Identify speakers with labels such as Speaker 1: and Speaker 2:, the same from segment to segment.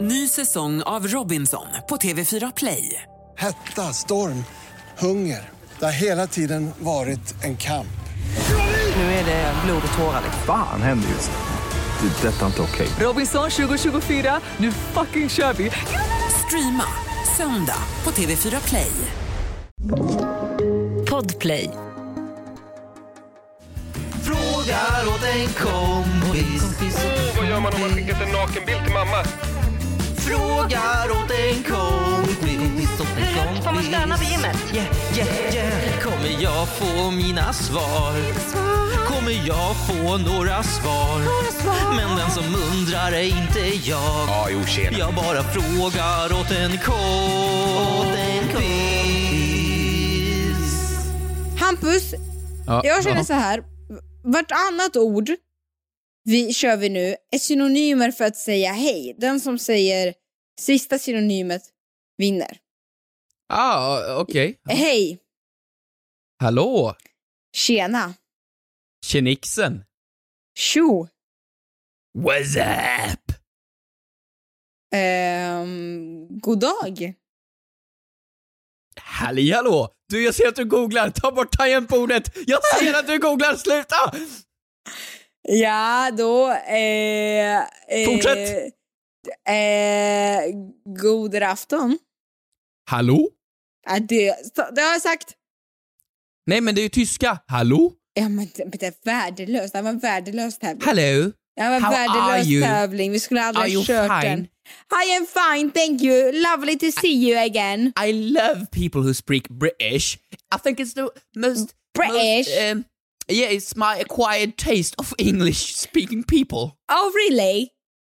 Speaker 1: Ny säsong av Robinson på TV4 Play.
Speaker 2: Hetta, storm, hunger. Det har hela tiden varit en kamp.
Speaker 1: Nu är det blod och tårar.
Speaker 3: Fan händer just nu. Det. är Detta är inte okej.
Speaker 1: Robinson 2024, nu fucking kör vi! Streama söndag på TV4 Play. Podplay.
Speaker 4: Frågar åt en kompis.
Speaker 5: Vad gör man om man skickat en nakenbild till mamma?
Speaker 4: Frågar åt en kompis. Hur
Speaker 6: får man stöna på gymmet?
Speaker 4: Yeah, yeah, yeah. Kommer jag få mina svar? Kommer jag få några svar? Men den som undrar är inte jag.
Speaker 5: Ja, jo, tjena.
Speaker 4: Jag bara frågar åt en kompis.
Speaker 7: Hampus, jag känner så här. Vartannat ord vi kör vi nu är synonymer för att säga hej. Den som säger sista synonymet vinner.
Speaker 8: Ah, okej.
Speaker 7: Hej,
Speaker 8: Hallå!
Speaker 7: tjena,
Speaker 8: Tjenixen!
Speaker 7: tjo.
Speaker 8: What's up?
Speaker 7: Ehm, god dag.
Speaker 8: Halli hallå! Du, jag ser att du googlar! Ta bort tangentbordet! Jag ser att du googlar! Sluta!
Speaker 7: Ja, då... Eh, eh,
Speaker 8: Fortsätt.
Speaker 7: Eh, god afton.
Speaker 8: Hallå?
Speaker 7: Ja, det, det har jag sagt.
Speaker 8: Nej, men det är ju tyska. Hallå?
Speaker 7: Ja, men det, men det är värdelöst. Det här var en värdelös tävling.
Speaker 8: Hallå?
Speaker 7: Det här var en
Speaker 8: How are you?
Speaker 7: värdelös tävling. Vi skulle
Speaker 8: Are
Speaker 7: aldrig ha
Speaker 8: you
Speaker 7: kört
Speaker 8: fine?
Speaker 7: den. I am fine, thank you. Lovely to see you again.
Speaker 8: I love people who speak British. I think it's the most...
Speaker 7: British?
Speaker 8: most, um, yeah, it's my acquired taste of English-speaking people.
Speaker 7: Oh, really?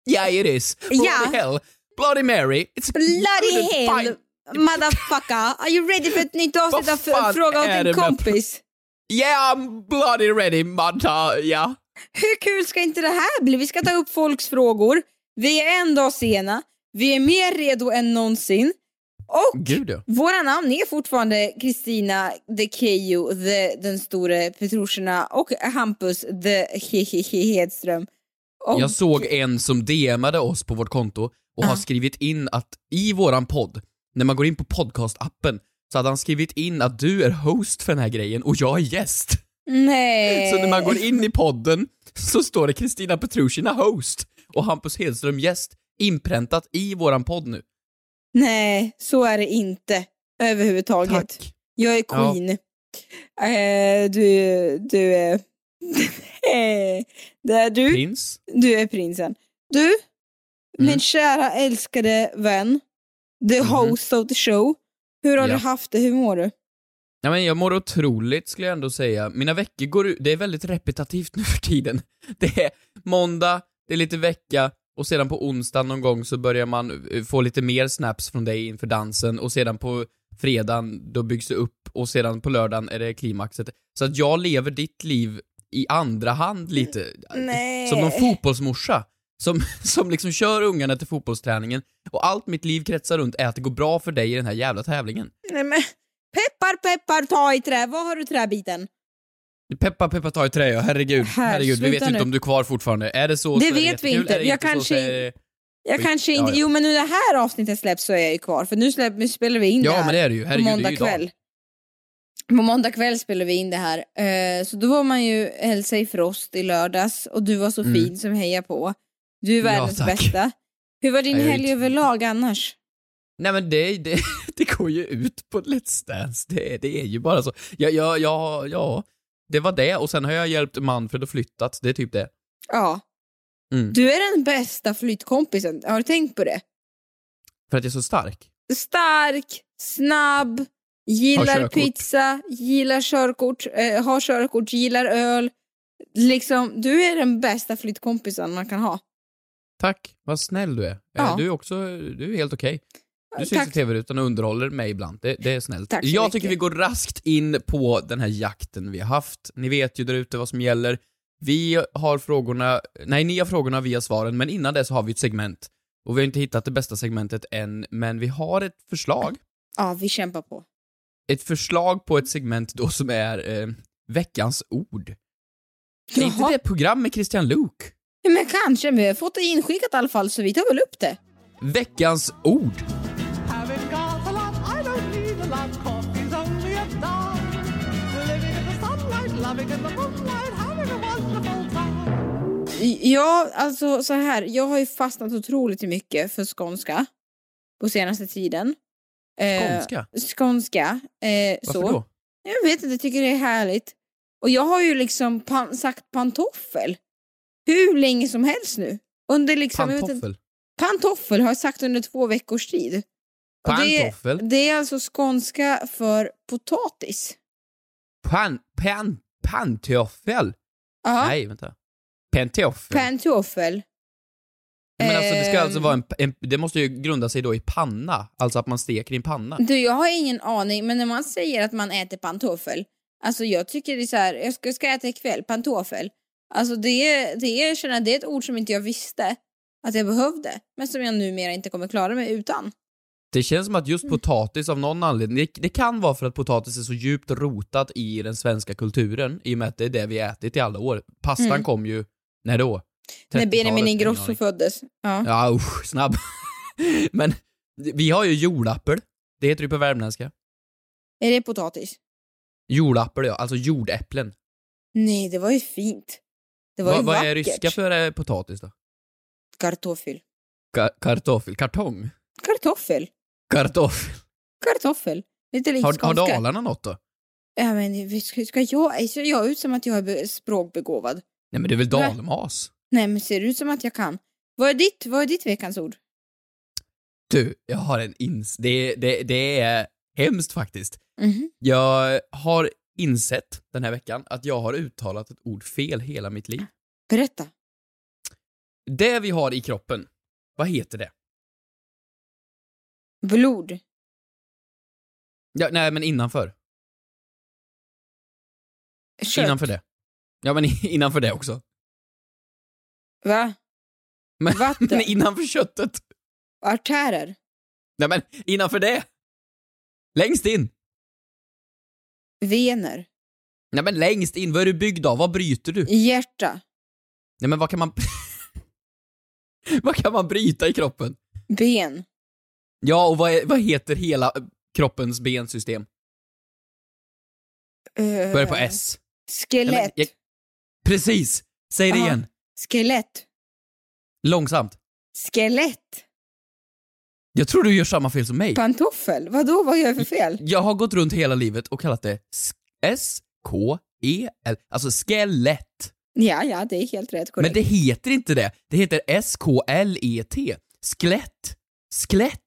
Speaker 8: Yeah, it is. Bloody
Speaker 7: Yeah.
Speaker 8: hell. Bloody Mary. It's a good
Speaker 7: Bloody
Speaker 8: and
Speaker 7: hell.
Speaker 8: fine-
Speaker 7: Motherfucker. Are you ready för ett nytt avsnitt av
Speaker 8: Vad fan
Speaker 7: Fråga åt
Speaker 8: är det
Speaker 7: en
Speaker 8: med-
Speaker 7: kompis?
Speaker 8: Yeah, I'm bloody ready, Manta. Yeah.
Speaker 7: Hur kul ska inte det här bli? Vi ska ta upp folks frågor. Vi är en dag sena. Vi är mer redo än någonsin. Och
Speaker 8: Gud, ja.
Speaker 7: våra namn är fortfarande Kristina, the Keyyo, the den store Petrushina och Hampus, the Hehehe Hedström. Och
Speaker 8: Jag såg en som DMade oss på vårt konto och har skrivit in att i våran podd, när man går in på podcastappen, så hade han skrivit in att du är host för den här grejen och jag är gäst.
Speaker 7: nej.
Speaker 8: Så när man går in i podden så står det Kristina Petrushina host och Hampus Hedström gäst inpräntat i våran podd nu.
Speaker 7: Nej, så är det inte överhuvudtaget.
Speaker 8: Tack.
Speaker 7: Jag är
Speaker 8: Ja.
Speaker 7: queen. Eh, du, du är... det är du.
Speaker 8: Prins.
Speaker 7: Du är prinsen. Du, min kära älskade vän, the
Speaker 8: Mm. Mhm.
Speaker 7: host of the show. Hur har
Speaker 8: Ja.
Speaker 7: du haft det? Hur mår du?
Speaker 8: Ja, men jag mår otroligt skulle jag ändå säga. Mina veckor går ut, det är väldigt repetitivt nu för tiden. Det är måndag, det är lite vecka, och sedan på onsdag någon gång så börjar man eh, få lite mer snaps från dig inför dansen, och sedan på fredagen då byggs det upp, och sedan på lördagen är det klimaxet. Så att jag lever ditt liv i andra hand lite.
Speaker 7: Nej.
Speaker 8: Som någon fotbollsmorsa. Som, som liksom kör ungarna till fotbollsträningen, och allt mitt liv kretsar runt är att det går bra för dig i den här jävla tävlingen.
Speaker 7: Nej, men. Peppar, peppar, ta i trä. Var har du träbiten?
Speaker 8: Peppa, peppa, ta i trä, ja. herregud.
Speaker 7: Här,
Speaker 8: herregud. Vi vet
Speaker 7: sluta
Speaker 8: inte
Speaker 7: nu.
Speaker 8: om du är kvar fortfarande. Är det så
Speaker 7: Det
Speaker 8: så är
Speaker 7: vet vi
Speaker 8: jättekul.
Speaker 7: inte.
Speaker 8: Är det
Speaker 7: Jag
Speaker 8: inte så,
Speaker 7: kanske
Speaker 8: så är det...
Speaker 7: Jag
Speaker 8: Oj,
Speaker 7: kanske
Speaker 8: ja,
Speaker 7: inte...
Speaker 8: ja.
Speaker 7: Jo, men nu det här avsnittet släpps så är jag ju kvar. För nu, släpp, nu spelar vi in det
Speaker 8: Ja,
Speaker 7: här.
Speaker 8: men det är det ju. Herregud,
Speaker 7: på
Speaker 8: det är
Speaker 7: måndag
Speaker 8: ju idag.
Speaker 7: kväll. På måndag kväll spelade vi in det här. Eh, Så då var man ju hälsa i Frost i lördags och du var så
Speaker 8: Mm.
Speaker 7: fin som hejar på. Du är
Speaker 8: Ja,
Speaker 7: världens
Speaker 8: tack.
Speaker 7: bästa. Hur var din
Speaker 8: Nej, jag är
Speaker 7: helg
Speaker 8: inte-
Speaker 7: överlag annars?
Speaker 8: Nej men det, det, det går ju ut på Let's Dance. Det, det är ju bara så. Ja, ja, ja, ja. Det var det, och sen har jag hjälpt Manfred att flyttat. Det är typ det.
Speaker 7: Ja.
Speaker 8: Mm.
Speaker 7: Du är den bästa flyttkompisen. Har du tänkt på det?
Speaker 8: För att jag är så stark.
Speaker 7: Stark, snabb, gillar
Speaker 8: körkort.
Speaker 7: pizza, gillar körkort, eh, har körkort, gillar öl. Liksom, du är den bästa flyttkompisen man kan ha.
Speaker 8: Tack, vad snäll du är. Eh,
Speaker 7: Ja.
Speaker 8: Du är också, du är helt okej. Du syns
Speaker 7: Tack.
Speaker 8: i tv-rutan och underhåller mig ibland. Det, det är snällt.
Speaker 7: Tack så
Speaker 8: jag
Speaker 7: mycket.
Speaker 8: tycker vi går raskt in på den här jakten vi har haft. Ni vet ju där ute vad som gäller. Vi har frågorna, nej ni har frågorna, vi har svaren, men innan dess har vi ett segment. Och vi har inte hittat det bästa segmentet än, men vi har ett förslag.
Speaker 7: Ja, vi kämpar på.
Speaker 8: Ett förslag på ett segment då som är eh, veckans ord. Är inte
Speaker 7: Jaha.
Speaker 8: det ett program med Christian Luuk?
Speaker 7: Ja, Men kanske, men vi har fått det inskickat i alla fall så vi tar väl upp det.
Speaker 8: Veckans ord.
Speaker 6: Haven't got a lot, I don't need a lot. Coffee's only a dime. We're living in the sunlight, loving in the moonlight, having a wonderful time.
Speaker 7: Ja, alltså så här. Jag har ju fastnat otroligt mycket för skånska på senaste tiden. Eh,
Speaker 8: Skånska?
Speaker 7: skånska. Eh,
Speaker 8: Varför
Speaker 7: så.
Speaker 8: då?
Speaker 7: Jag vet inte, jag tycker det är härligt. Och jag har ju liksom pan- sagt pantoffel hur länge som helst nu. Under liksom, jag vet inte-
Speaker 8: Pantoffel?
Speaker 7: pantoffel har jag sagt under två veckors tid. Och det,
Speaker 8: Pantoffel?
Speaker 7: det är alltså skånska för potatis.
Speaker 8: Pan... Pan... Pantoffel?
Speaker 7: Ja,
Speaker 8: Nej, vänta. Pentoffel?
Speaker 7: pantoffel.
Speaker 8: Men alltså det ska alltså
Speaker 7: Ehm.
Speaker 8: vara en, en... Det måste ju grunda sig då i panna. Alltså att man steker i en panna.
Speaker 7: Ehm, Du, jag har ingen aning, men när man säger att man äter pantoffel, alltså jag tycker det är så här, jag ska, ska äta ikväll, pantoffel. Alltså det, är- det, är, jag känner, det är ett ord som inte jag visste att jag behövde, men som jag numera inte kommer klara mig utan.
Speaker 8: Det känns som att just potatis av någon anledning, det, det kan vara för att potatis är så djupt rotat i den svenska kulturen, i och med att det är det vi ätit i alla år. Pastan
Speaker 7: Mm.
Speaker 8: kom ju, när då?
Speaker 7: När
Speaker 8: 30-talet,
Speaker 7: Benjamin
Speaker 8: ingen
Speaker 7: Ingrosso
Speaker 8: aning.
Speaker 7: föddes. Ja.
Speaker 8: Ja usch, snabb. Men vi har ju jordäppel, det heter ju på värmländska.
Speaker 7: Är det potatis?
Speaker 8: Jordäppel ja, alltså jordäpplen.
Speaker 7: Nej, det var ju fint. Det var
Speaker 8: Va,
Speaker 7: ju
Speaker 8: vad
Speaker 7: vackert.
Speaker 8: är ryska för eh, potatis då?
Speaker 7: Kartoffel.
Speaker 8: Ka kartoffel? Kartong?
Speaker 7: Kartoffel.
Speaker 8: Kartoffel?
Speaker 7: Kartoffel. Lite likt
Speaker 8: Har, har
Speaker 7: skånska.
Speaker 8: Dalarna något då?
Speaker 7: Ja, men vi ska ska jag... Ser jag ut som att jag är be- språkbegåvad?
Speaker 8: Nej men det är väl
Speaker 7: Nej.
Speaker 8: dalmas?
Speaker 7: Nej, men ser det ut som att jag kan? Vad är ditt, vad är ditt veckans ord?
Speaker 8: Du, jag har en ins... Det, det, det är hemskt faktiskt.
Speaker 7: Mhm.
Speaker 8: Jag har insett den här veckan att jag har uttalat ett ord fel hela mitt liv.
Speaker 7: Berätta.
Speaker 8: Det vi har i kroppen, vad heter det?
Speaker 7: Blod.
Speaker 8: Ja, nej, men innanför.
Speaker 7: Kött.
Speaker 8: Innanför det. Ja, men innanför det också.
Speaker 7: Va?
Speaker 8: Men,
Speaker 7: Vatten.
Speaker 8: men innanför köttet.
Speaker 7: Artärer.
Speaker 8: Nej, men innanför det. Längst in.
Speaker 7: Vener.
Speaker 8: Nej, men längst in. Vad är du byggd av? Vad bryter du?
Speaker 7: Hjärta.
Speaker 8: Nej, men vad kan man... vad kan man bryta i kroppen?
Speaker 7: Ben.
Speaker 8: Ja, och vad, är, vad heter hela eh, kroppens bensystem?
Speaker 7: eh,
Speaker 8: Börjar på S.
Speaker 7: Skelett.
Speaker 8: Nej, men jag- Precis! Säg det
Speaker 7: Aha.
Speaker 8: igen.
Speaker 7: Skelett.
Speaker 8: Långsamt.
Speaker 7: Skelett.
Speaker 8: Jag tror du gör samma fel som mig.
Speaker 7: Pantoffel. Vadå, vad gör jag för fel?
Speaker 8: Jag har gått runt hela livet och kallat det sk- S-K-E-L, alltså skelett.
Speaker 7: Ja, ja, det är helt rätt. Korrekt.
Speaker 8: Men det heter inte det. Det heter S-K-L-E-T. E Skelett. Skelett.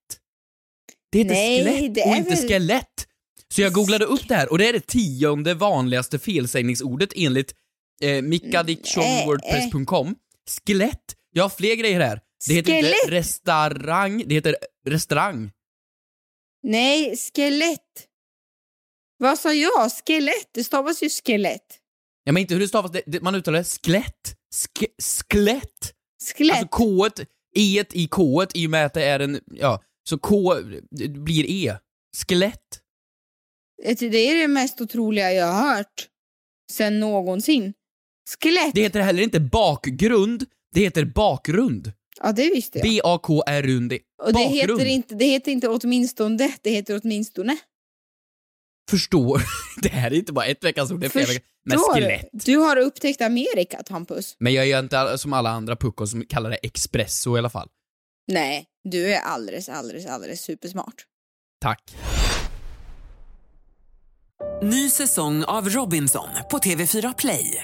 Speaker 8: Det heter
Speaker 7: Nej,
Speaker 8: skelett
Speaker 7: det
Speaker 8: och
Speaker 7: är
Speaker 8: inte
Speaker 7: väl-
Speaker 8: skelett. Så jag googlade upp det här och det är det tionde vanligaste felsägningsordet enligt eh, mickadictionwordpress.com. Skelett. Jag har fler grejer här. Det heter
Speaker 7: Mm, eh, Skelett.
Speaker 8: inte restaurang, det heter restaurang.
Speaker 7: Nej, skelett. Vad sa jag? Skelett. Det stavas ju skelett.
Speaker 8: Ja men inte hur det stavas, det, det, man uttalar skelett. Ske, skelett.
Speaker 7: Skelett.
Speaker 8: Alltså k e i k i och med att det är en, ja, så k det blir e. Skelett.
Speaker 7: Vet du, Alltså, Det är det mest otroliga jag har hört sen någonsin. Skelett.
Speaker 8: Det heter heller inte bakgrund, det heter bakgrund.
Speaker 7: Ja, det visste jag.
Speaker 8: B-A-K-R-U-N-D.
Speaker 7: Och det
Speaker 8: bakgrund.
Speaker 7: heter, inte, det heter inte åtminstone det, det heter åtminstone.
Speaker 8: Förstår. det här är inte bara ett veckans ord, det är flera veckor. Men
Speaker 7: Förstår du?
Speaker 8: skelett.
Speaker 7: Du har upptäckt Amerika, Hampus.
Speaker 8: Men jag är ju inte all- som alla andra puckon som kallar det espresso i alla fall.
Speaker 7: Nej, du är alldeles, alldeles, alldeles supersmart.
Speaker 8: Tack.
Speaker 1: Ny säsong av Robinson på TV4 Play.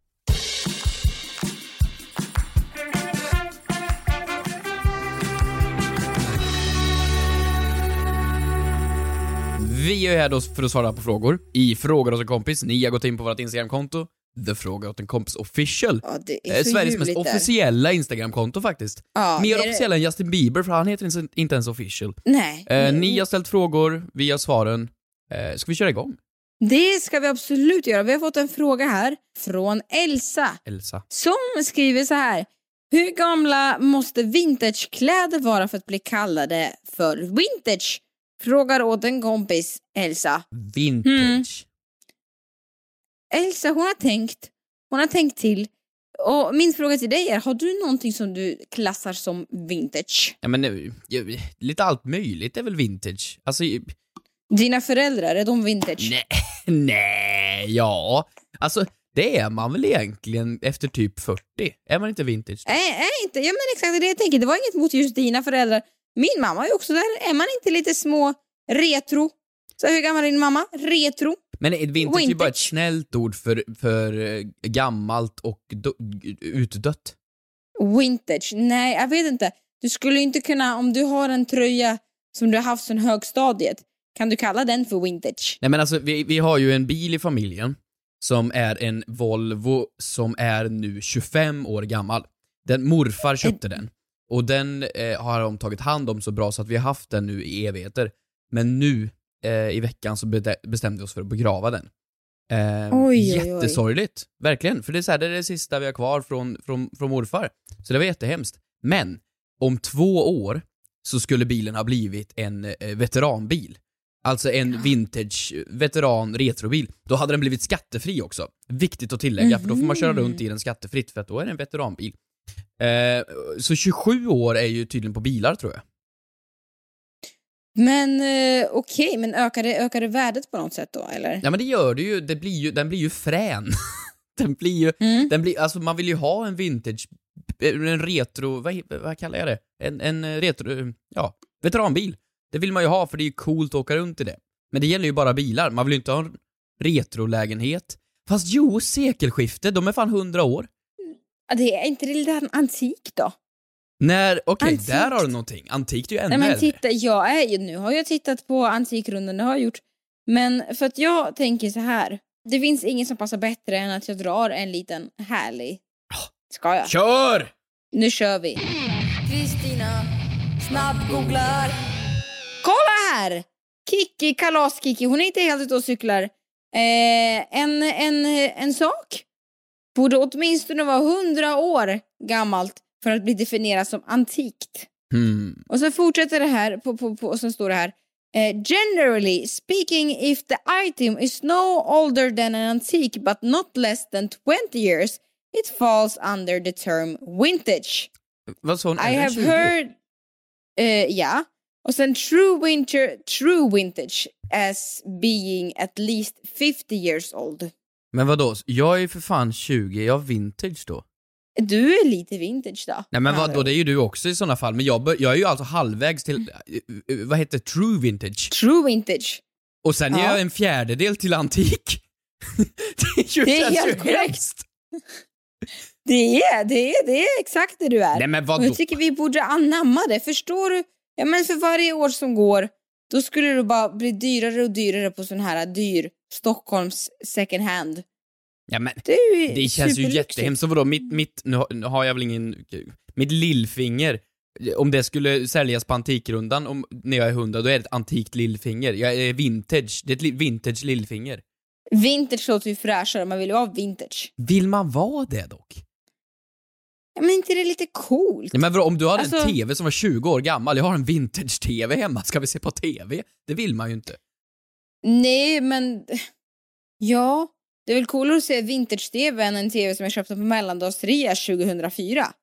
Speaker 8: Vi är ju här då för att svara på frågor i Frågar åt en kompis. Ni har gått in på vårt Instagramkonto, The Frågar åt en kompis official.
Speaker 7: det
Speaker 8: Eh,
Speaker 7: är så
Speaker 8: Sveriges mest
Speaker 7: ljuvligt där.
Speaker 8: officiella Instagramkonto faktiskt.
Speaker 7: Ja,
Speaker 8: Mer
Speaker 7: är det- Mm.
Speaker 8: officiell än Justin Bieber, för han heter inte- inte ens official.
Speaker 7: Nej.
Speaker 8: Eh, ni har ställt frågor, vi har svaren. Eh, ska vi köra igång?
Speaker 7: Det ska vi absolut göra. Vi har fått en fråga här från Elsa
Speaker 8: Elsa.
Speaker 7: som skriver så här. Hur gamla måste vintagekläder vara för att bli kallade för vintage? Frågar åt en kompis, Elsa.
Speaker 8: Vintage.
Speaker 7: Mm. Elsa, hon har tänkt. Hon har tänkt till. Och min fråga till dig är, har du någonting som du klassar som vintage?
Speaker 8: Ja men nu, ju- lite allt möjligt är väl vintage? Alltså, ju-
Speaker 7: Dina föräldrar, är de vintage?
Speaker 8: nej, nej, ja. Alltså, det är man väl egentligen efter typ 40? Är man inte vintage?
Speaker 7: Nej, är inte. Ja, men exakt det är det jag tänker. Det var inget mot just dina föräldrar. Min mamma är ju också där. Är man inte lite små retro? Så hur gammal är din mamma? Retro?
Speaker 8: Men vintage, är ju bara ett snällt ord för, för eh, gammalt och do, utdött.
Speaker 7: Vintage? Nej, jag vet inte. Du skulle ju inte kunna, om du har en tröja som du har haft sedan högstadiet, kan du kalla den för vintage?
Speaker 8: Nej men alltså, vi, vi har ju en bil i familjen som är en Volvo som är nu 25 år gammal. Den morfar köpte den. Och den eh, har de tagit hand om så bra så att vi har haft den nu i evigheter. Men nu eh, i veckan så bede- bestämde vi oss för att begrava den. Eh,
Speaker 7: Oj, oj, oj.
Speaker 8: jättesorgligt, verkligen. För det är, så här, det är det sista vi har kvar från, från, från morfar. Så det var jättehemskt. Men om två år så skulle bilen ha blivit en eh, veteranbil. Alltså en vintage eh, veteran retrobil. Då hade den blivit skattefri också. Viktigt att tillägga, för då får man köra
Speaker 9: Mhm.
Speaker 8: runt i den skattefritt för att då är det en veteranbil. Eh, så 27 år är ju tydligen på bilar tror jag.
Speaker 7: Men eh, okej, men ökar det, ökar det värdet på något sätt då, eller?
Speaker 8: Ja men det gör det ju, det blir ju den blir ju frän. den blir ju,
Speaker 7: Mm.
Speaker 8: den blir, alltså man vill ju ha en vintage, eh, en retro, vad, he- vad kallar jag det? En, en eh, retro, eh, ja, veteranbil. Det vill man ju ha för det är ju coolt att åka runt i det. Men det gäller ju bara bilar, man vill ju inte ha en retrolägenhet. Fast jo, sekelskifte, de är fan hundra år.
Speaker 7: Ja, Det är inte det lite antik då?
Speaker 8: När, okej,
Speaker 7: Antikt.
Speaker 8: där har du någonting. Antikt är ju ännu
Speaker 7: Nej, men
Speaker 8: äldre.
Speaker 7: titta, jag är ju, nu har jag tittat på Antikrundan, det har jag gjort. Men för att jag tänker så här. Det finns ingen som passar bättre än att jag drar en liten härlig. Ska jag?
Speaker 8: Kör!
Speaker 7: Nu kör vi. Kristina snabbgooglar. Kolla här! Kiki, kalas-Kiki, hon är inte helt ute och cyklar. Eh, en, en, en sak borde åtminstone vara 100 år gammalt för att bli definierat som antikt.
Speaker 8: Hmm.
Speaker 7: Och sen fortsätter det här, på, på, på, och sen står det här. Eh, generally speaking if the item is no older than an antique but not less than 20 years it falls under the term vintage.
Speaker 8: Vad sa hon?
Speaker 7: I
Speaker 8: Äldre än
Speaker 7: have
Speaker 8: 20?
Speaker 7: heard... eh, ja. Och sen true, winter, true vintage as being at least 50 years old.
Speaker 8: Men vadå, jag är ju för fan 20, är jag vintage då?
Speaker 7: Du är lite vintage då.
Speaker 8: Nej men vadå, det är ju du också i sådana fall. Men jag, bör, jag är ju alltså halvvägs till, eh, eh, vad heter true vintage?
Speaker 7: True vintage.
Speaker 8: Och sen är
Speaker 7: Ja.
Speaker 8: jag en fjärdedel till antik. det är ju
Speaker 7: Det är
Speaker 8: känns ju
Speaker 7: helt korrekt.
Speaker 8: hemskt.
Speaker 7: Det är, det är, det är exakt det du är.
Speaker 8: Nej, men vadå?
Speaker 7: Och jag tycker vi borde anamma det, förstår du? Ja men för varje år som går, då skulle det bara bli dyrare och dyrare på sån här dyr Stockholms second hand.
Speaker 8: Ja, men,
Speaker 7: Det är ju
Speaker 8: det känns ju
Speaker 7: superlyxigt.
Speaker 8: jättehemskt. Så vadå, mitt, mitt, nu har- nu har jag väl ingen, mitt lillfinger, om det skulle säljas på Antikrundan om, när jag är hundra, då är det ett antikt lillfinger. Jag är vintage, det är ett li- vintage lillfinger.
Speaker 7: Vintage låter ju fräschare, man vill ju ha vintage.
Speaker 8: Vill man vara det dock?
Speaker 7: Ja, men inte det är lite coolt?
Speaker 8: Nej, men vadå, om du hade
Speaker 7: Alltså-
Speaker 8: en TV som var 20 år gammal, jag har en vintage-TV hemma, ska vi se på TV? Det vill man ju inte.
Speaker 7: Nej, men... Ja, det är väl coolare att se vintage-tv än en tv som jag köpte på mellandagsrea 2004.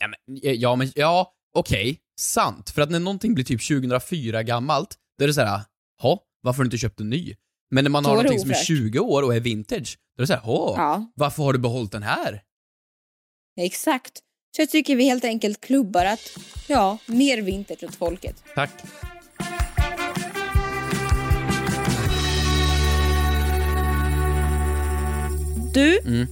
Speaker 8: Ja, men, ja, men, ja okej, sant. För att när någonting blir typ 2004 gammalt, då är det så här, ha, varför har du inte köpt en ny? Men när man
Speaker 9: Då
Speaker 8: har
Speaker 9: är det
Speaker 8: någonting som är
Speaker 9: ofräscht.
Speaker 8: 20 år och är vintage, då är det så här, ha,
Speaker 7: Ja.
Speaker 8: varför har du behållit den här?
Speaker 7: Exakt. Så jag tycker vi helt enkelt klubbar att, ja, mer vintage åt folket.
Speaker 8: Tack.
Speaker 7: Du,
Speaker 8: Mm.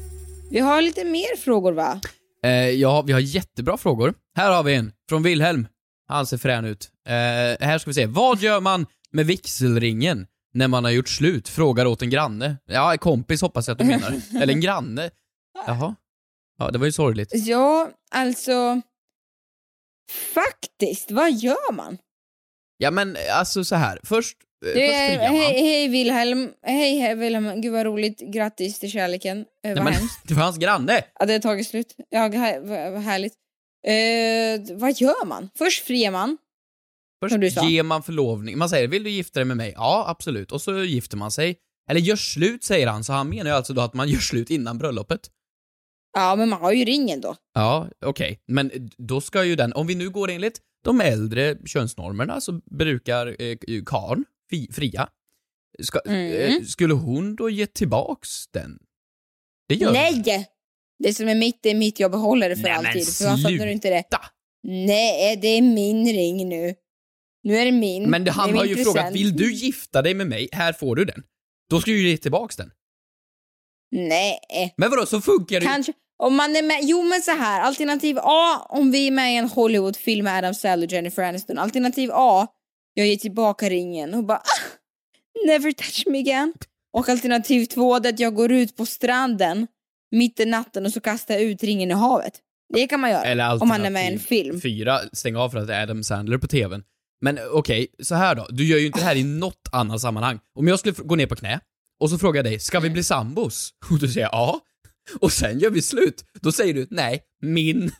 Speaker 7: vi har lite mer frågor va?
Speaker 8: Eh, ja, vi har jättebra frågor. Här har vi en, från Wilhelm. Han ser frän ut. Eh, här ska vi se, vad gör man med vigselringen? när man har gjort slut frågar åt en granne. Ja, en kompis hoppas jag att du menar. Eller en granne. Jaha. Ja, det var ju sorgligt.
Speaker 7: Ja, alltså... Faktiskt, vad gör man?
Speaker 8: Ja, men alltså så här. Först, eh,
Speaker 7: Det
Speaker 8: först
Speaker 7: är,
Speaker 8: friar man.
Speaker 7: hej, hej Wilhelm, hej hej, Wilhelm, gud vad roligt, grattis till kärleken. Eh, vad
Speaker 8: Nej, men,
Speaker 7: hemskt
Speaker 8: det var hans granne!
Speaker 7: att det har tagit slut. Ja, här, vad vad härligt. Eh, vad gör man? Först friar man. Som du
Speaker 8: Först
Speaker 7: sa.
Speaker 8: ger man förlovning. Man säger “Vill du gifta dig med mig?” Ja, absolut. Och så gifter man sig. Eller gör slut, säger han, så han menar ju alltså då att man gör slut innan bröllopet.
Speaker 7: Ja, men man har ju ringen då.
Speaker 8: Ja, okej. Men då ska ju den, om vi nu går enligt de äldre könsnormerna så brukar eh, karln fi, fria. Ska,
Speaker 7: Mm.
Speaker 8: eh, skulle hon då ge tillbaks den? Det gör hon.
Speaker 7: Nej! Det som är mitt det är mitt, jag behåller det för
Speaker 8: Nej, men
Speaker 7: alltid. För varför fattar du inte det? Nej, det är min ring nu. Nu är det min.
Speaker 8: Men det,
Speaker 7: Det
Speaker 8: han
Speaker 7: är
Speaker 8: har
Speaker 7: min
Speaker 8: ju
Speaker 7: present.
Speaker 8: frågat, vill du gifta dig med mig? Här får du den. Då ska du ju ge tillbaks den.
Speaker 7: Nej.
Speaker 8: Men vadå, så funkar det ju
Speaker 7: Kanske. Om man är med, jo men så här, alternativ A, om vi är med i en Hollywoodfilm med Adam Sandler och Jennifer Aniston. Alternativ A, jag ger tillbaka ringen och bara ah, never touch me again. Och alternativ två, det är att jag går ut på stranden mitt i natten och så kastar jag ut ringen i havet. Det kan man göra.
Speaker 8: Eller
Speaker 7: om man är med i en
Speaker 8: alternativ
Speaker 7: film.
Speaker 8: Fyra, stäng av för att det är Adam Sandler på TVn. Men okej, så här då. Du gör ju inte det här i något annat sammanhang. Om jag skulle fr- gå ner på knä och så frågar jag dig, ska vi bli sambos? Och du säger ja. Och sen gör vi slut. Då säger du, nej, min.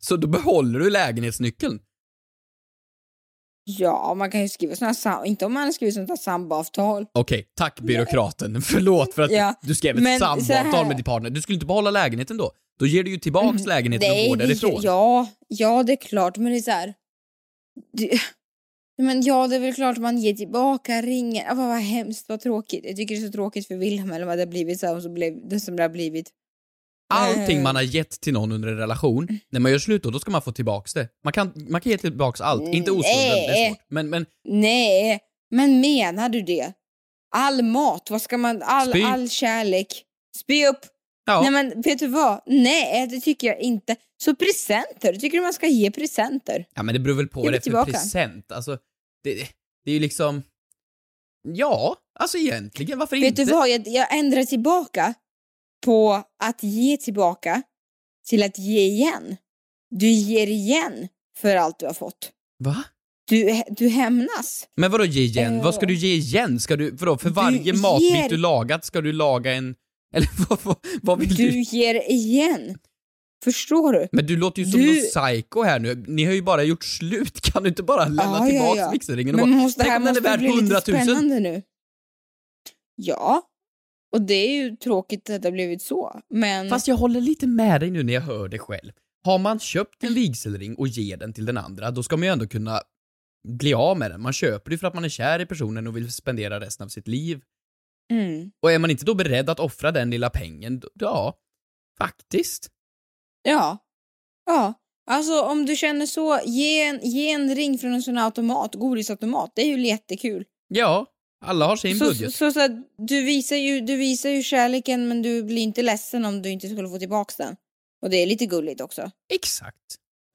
Speaker 8: Så då behåller du lägenhetsnyckeln.
Speaker 7: Ja, man kan ju skriva sådana sam- inte om man har skrivit sånt här samboavtal.
Speaker 8: Okej, tack byråkraten. Förlåt för att
Speaker 7: Ja,
Speaker 8: du skrev ett
Speaker 7: men så här- Mm.
Speaker 8: samboavtal med din partner. Du skulle inte behålla lägenheten då. Då ger du ju tillbaks lägenheten och går
Speaker 7: det-
Speaker 8: därifrån.
Speaker 7: ja, ja, det är klart, men det är så här. Det, men ja, det är väl klart man ger tillbaka ringen. Ah, vad, vad hemskt, vad tråkigt. Jag tycker det är så tråkigt för Wilhelm eller vad det har blivit så här, och så blev det som det har blivit.
Speaker 8: Allting
Speaker 7: Eh.
Speaker 8: man har gett till någon under en relation, när man gör slut då, då ska man få tillbaks det. Man kan, man kan ge tillbaks allt.
Speaker 7: Mm.
Speaker 8: Inte oskulden,
Speaker 7: Eh.
Speaker 8: det är svårt. Men, men
Speaker 7: Nej, men menar du det? All mat, vad ska man, all,
Speaker 8: Spy.
Speaker 7: all kärlek. Spy upp!
Speaker 8: Ja.
Speaker 7: Nej men vet du vad? Nej, det tycker jag inte. Så presenter, tycker du man ska ge presenter?
Speaker 8: Ja, men det beror väl på
Speaker 7: Ge
Speaker 8: vad det
Speaker 7: mig
Speaker 8: är för
Speaker 7: tillbaka.
Speaker 8: present. Alltså, det, det- det är ju liksom... Ja, alltså egentligen, varför
Speaker 7: Vet
Speaker 8: inte?
Speaker 7: du vad, jag, jag ändrar tillbaka på att ge tillbaka till att ge igen. Du ger igen för allt du har fått.
Speaker 8: Va?
Speaker 7: Du, du hämnas.
Speaker 8: Men vadå ge igen?
Speaker 7: Eh.
Speaker 8: Vad ska du ge igen? Ska du, vadå, för varje
Speaker 7: ger-
Speaker 8: matbit du lagat ska du laga en... Eller vad, vad, vad vill du?
Speaker 7: Du ger igen. Förstår du?
Speaker 8: Men du låter ju som
Speaker 7: Du-
Speaker 8: någon psycho här nu. Ni har ju bara gjort slut. Kan du inte bara lämna
Speaker 7: Ja, ja,
Speaker 8: tillbaks
Speaker 7: ja.
Speaker 8: vigselringen och
Speaker 7: Men
Speaker 8: bara,
Speaker 7: måste, det
Speaker 8: tänk
Speaker 7: här
Speaker 8: om den
Speaker 7: måste
Speaker 8: är värd
Speaker 7: bli lite
Speaker 8: 100 000?
Speaker 7: spännande nu. Ja, och det är ju tråkigt att det har blivit så. Men
Speaker 8: Fast jag håller lite med dig nu när jag hör det själv. Har man köpt
Speaker 7: Mm.
Speaker 8: en vigselring och ger den till den andra, då ska man ju ändå kunna bli av med den. Man köper det för att man är kär i personen och vill spendera resten av sitt liv.
Speaker 7: Mm.
Speaker 8: Och är man inte då beredd att offra den lilla pengen, då, ja, faktiskt.
Speaker 7: Ja. Ja. Alltså om du känner så, ge en, ge en ring från en sån här automat, godisautomat. Det är ju jättekul.
Speaker 8: Ja, alla har sin
Speaker 7: Så, så,
Speaker 8: budget.
Speaker 7: så, att du, visar ju, du visar ju kärleken men du blir inte ledsen om du inte skulle få tillbaka den. Och det är lite gulligt också.
Speaker 8: Exakt.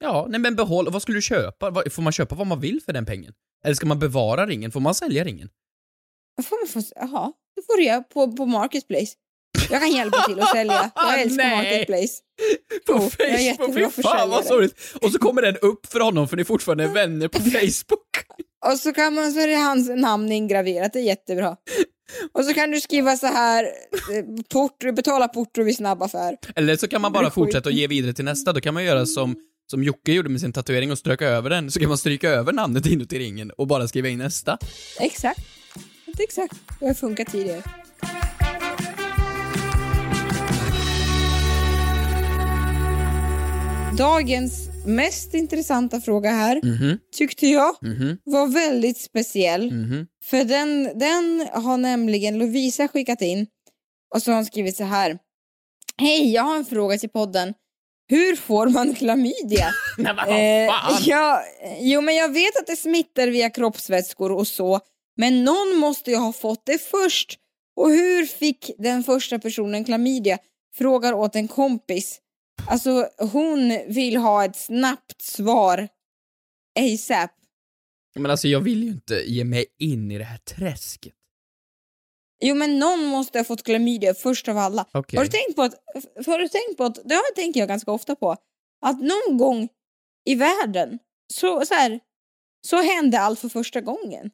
Speaker 8: Ja, nej men behåll, vad skulle du köpa? Vad- Får man köpa vad man vill för den pengen? Eller ska man bevara ringen? Får man sälja ringen?
Speaker 7: Vad får man få, jaha, det får du göra på, på Marketplace. Jag kan hjälpa till att sälja. Jag älskar
Speaker 8: Nej.
Speaker 7: Marketplace.
Speaker 8: På
Speaker 7: Jo, jag är
Speaker 8: Facebook?
Speaker 7: jättebra
Speaker 8: Fy fan
Speaker 7: försäljare.
Speaker 8: vad sorgligt! Och så kommer den upp för honom för ni är fortfarande vänner på Facebook.
Speaker 7: Och så kan man, så är det hans namn ingraverat, det är jättebra. Och så kan du skriva så här, eh, porto, betala porto vid snabbaffär.
Speaker 8: Eller så kan man
Speaker 7: Det
Speaker 8: bara
Speaker 7: är skit.
Speaker 8: fortsätta och ge vidare till nästa. Då kan man göra som, som Jocke gjorde med sin tatuering och ströka över den. Så kan man stryka över namnet inuti ringen och bara skriva in nästa.
Speaker 7: Exakt. Inte exakt. Det har funkat tidigare. Dagens mest intressanta fråga här
Speaker 8: Mhm,
Speaker 7: tyckte jag
Speaker 8: mhm,
Speaker 7: var väldigt speciell.
Speaker 8: mhm.
Speaker 7: För den, den har nämligen Lovisa skickat in och så har hon skrivit så här. Hej, jag har en fråga till podden. Hur får man klamydia?
Speaker 8: Nej men
Speaker 7: Eh,
Speaker 8: vad fan!
Speaker 7: ja, jo, men jag vet att det smittar via kroppsvätskor och så, men någon måste ju ha fått det först. Och hur fick den första personen klamydia? Frågar åt en kompis. Alltså, hon vill ha ett snabbt svar. ASAP.
Speaker 8: Men alltså jag vill ju inte ge mig in i det här träsket.
Speaker 7: Jo men någon måste ha fått klamydia först av alla.
Speaker 8: Okej.
Speaker 7: Har, du tänkt på att, f- har du tänkt på att, det har jag tänkt jag ganska ofta på, att någon gång i världen så, så, här, så hände allt för första gången.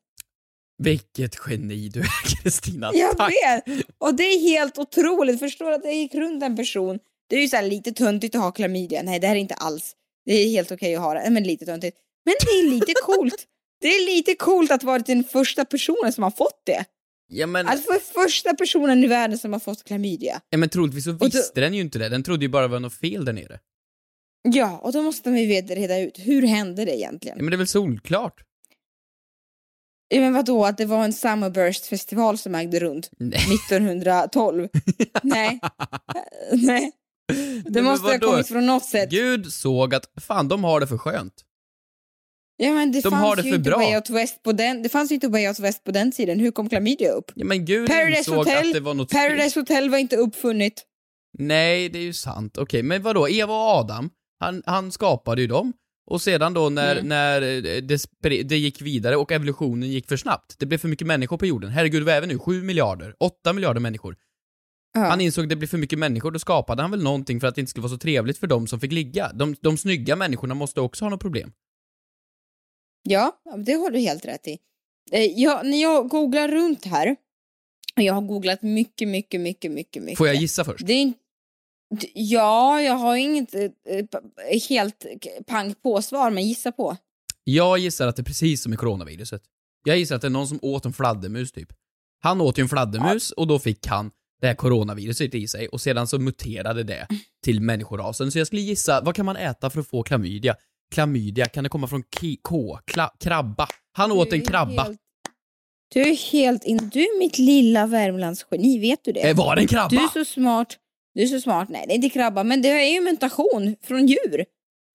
Speaker 8: Vilket geni du är Kristina.
Speaker 7: Jag
Speaker 8: Tack.
Speaker 7: vet! Och det är helt otroligt. Förstår du att det gick runt en person. Det är ju så här lite töntigt att ha klamydia. Nej, det här är inte alls. Det är helt okej att ha det. Nej, Men lite töntigt. Men det är lite coolt. Det är lite coolt att vara den första personen som har fått det.
Speaker 8: Ja, men,
Speaker 7: Alltså för första personen i världen som har fått klamydia.
Speaker 8: ja, men troligtvis så visste den ju inte det. Den trodde ju bara det var något fel där nere.
Speaker 7: Ja, och då måste vi veta- reda ut. Hur hände det egentligen?
Speaker 8: Ja, men det är väl solklart?
Speaker 7: Ja, men vadå, att det var en Summerburst-festival som ägde runt 1912? Nej. Nej. Det
Speaker 8: men
Speaker 7: måste ha
Speaker 8: vadå?
Speaker 7: kommit från något sätt.
Speaker 8: Gud såg att fan, de har det för skönt.
Speaker 7: Ja, men det
Speaker 8: De
Speaker 7: fanns
Speaker 8: har det
Speaker 7: ju
Speaker 8: för
Speaker 7: inte
Speaker 8: bra.
Speaker 7: Way Out West på den. Det fanns ju inte Way Out West på den tiden. Hur kom klamydia upp?
Speaker 8: Ja, men Gud
Speaker 7: Paradise
Speaker 8: insåg
Speaker 7: Hotel,
Speaker 8: att det var något
Speaker 7: Paradise
Speaker 8: fel.
Speaker 7: Hotel var inte uppfunnit.
Speaker 8: Nej, det är ju sant. Okej, men vadå, Eva och Adam, han, han skapade ju dem. Och sedan då när, när eh, det, spre- det gick vidare och evolutionen gick för snabbt, det blev för mycket människor på jorden. Herregud, vad är vi nu? Sju miljarder? Åtta miljarder människor. Han insåg att det blev för mycket människor, då skapade han väl någonting för att det inte skulle vara så trevligt för dem som fick ligga. De, de snygga människorna måste också ha något problem.
Speaker 7: Ja, det har du helt rätt i. Eh, Jag, när jag googlar runt här, och jag har googlat mycket, mycket, mycket, mycket, mycket.
Speaker 8: Får jag gissa först?
Speaker 7: Det är inte... d- Ja, jag har inget eh, eh, p- helt k- pang på-svar, men gissa på.
Speaker 8: Jag gissar att det är precis som i coronaviruset. Jag gissar att det är någon som åt en fladdermus, typ. Han åt ju en fladdermus och då fick han det här coronaviruset i sig och sedan så muterade det till människorasen. Så jag skulle gissa, vad kan man äta för att få klamydia? Klamydia, kan det komma från ki- k? Kla- krabba? Han åt
Speaker 7: Du
Speaker 8: en
Speaker 7: är
Speaker 8: krabba.
Speaker 7: helt- Du är helt in... Du är mitt lilla Värmlandsgeni, vet du det?
Speaker 8: Eh, var det en krabba?
Speaker 7: Du är så smart. Du är så smart. Nej, det är inte krabba, men det är ju mutation från djur.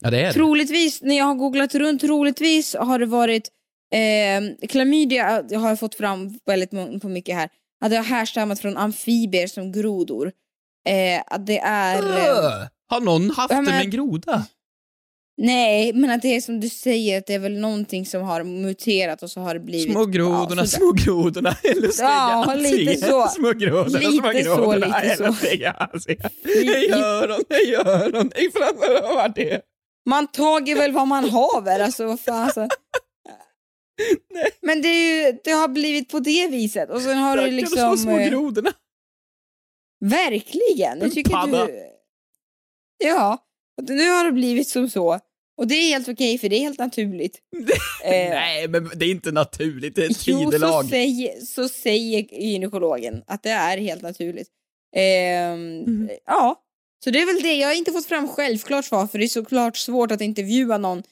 Speaker 8: Ja, det är det.
Speaker 7: Troligtvis, när jag har googlat runt, troligtvis har det varit eh, klamydia, jag har fått fram väldigt mång- på mycket här, att det har härstammat från amfibier som grodor. Eh, att det är... Eh,
Speaker 8: Öh, Har någon haft
Speaker 7: Ja,
Speaker 8: det med
Speaker 7: men-
Speaker 8: en groda?
Speaker 7: nej, men att det är som du säger, att det är väl någonting som har muterat och så har det blivit...
Speaker 8: Små grodorna,
Speaker 7: ja, sådär.
Speaker 8: små grodorna, älskar
Speaker 7: Ja,
Speaker 8: jag.
Speaker 7: lite så.
Speaker 8: Små grodorna,
Speaker 7: Lite så,
Speaker 8: små grodorna, alltså,
Speaker 7: lite så.
Speaker 8: älskar jag. Jag gör dem, jag gör dem, jag framför det.
Speaker 7: Man tager väl vad man haver, alltså vad fan alltså. Men det, är ju, det har blivit på det viset och sen har du
Speaker 8: Stackarn, de
Speaker 7: liksom...
Speaker 8: små
Speaker 7: eh,
Speaker 8: grodorna.
Speaker 7: Verkligen! Jag
Speaker 8: En
Speaker 7: tycker
Speaker 8: padda.
Speaker 7: du... Ja, och nu har det blivit som så. Och det är helt okej för det är helt naturligt. eh,
Speaker 8: Nej, men det är inte naturligt, det är ett
Speaker 7: Jo, så
Speaker 8: tidelag.
Speaker 7: säger, så säger gynekologen att det är helt naturligt. Ehm,
Speaker 8: Mm.
Speaker 7: Ja, så det är väl det. Jag har inte fått fram självklart svar för det är såklart svårt att intervjua någon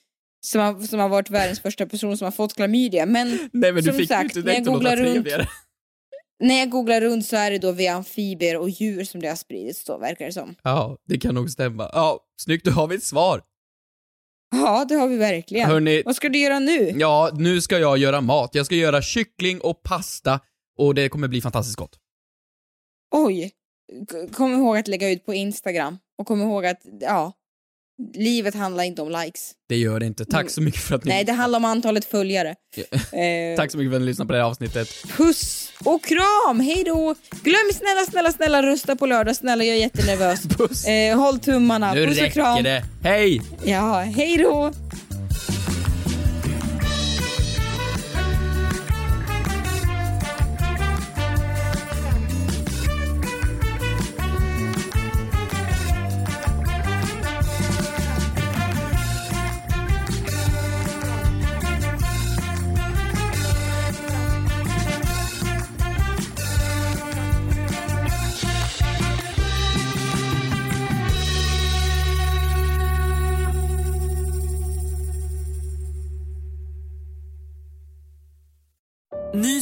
Speaker 7: som har, som har varit världens första person som har fått klamydia. Men,
Speaker 8: Nej, men du
Speaker 7: som
Speaker 8: fick ju
Speaker 7: sagt,
Speaker 8: inte
Speaker 7: när
Speaker 8: det
Speaker 7: jag
Speaker 8: inte låta
Speaker 7: googlar runt
Speaker 8: trevligare.
Speaker 7: när jag googlar runt så är det då via amfibier och djur som det har spridits då, verkar det som.
Speaker 8: Ja, det kan nog stämma. Ja, snyggt, då har vi ett svar.
Speaker 7: Ja, det har vi verkligen.
Speaker 8: Hörrni-
Speaker 7: Vad ska du göra nu?
Speaker 8: Ja, nu ska jag göra mat. Jag ska göra kyckling och pasta och det kommer bli fantastiskt gott.
Speaker 7: Oj! K- Kom ihåg att lägga ut på Instagram. Och kom ihåg att, ja, livet handlar inte om likes.
Speaker 8: Det gör det inte. Tack så mycket för att ni...
Speaker 7: Mm. Nej, det handlar om antalet följare. Eh,
Speaker 8: Mm. Tack så mycket för att ni lyssnade på det här avsnittet.
Speaker 7: Puss och kram! Hej då! Glöm snälla, snälla, snälla rösta på lördag. Snälla, jag är jättenervös.
Speaker 8: Puss.
Speaker 7: Eh, håll tummarna.
Speaker 8: Nu
Speaker 7: Puss och kram.
Speaker 8: räcker det. Hej!
Speaker 7: Ja, hej då!
Speaker 1: Ny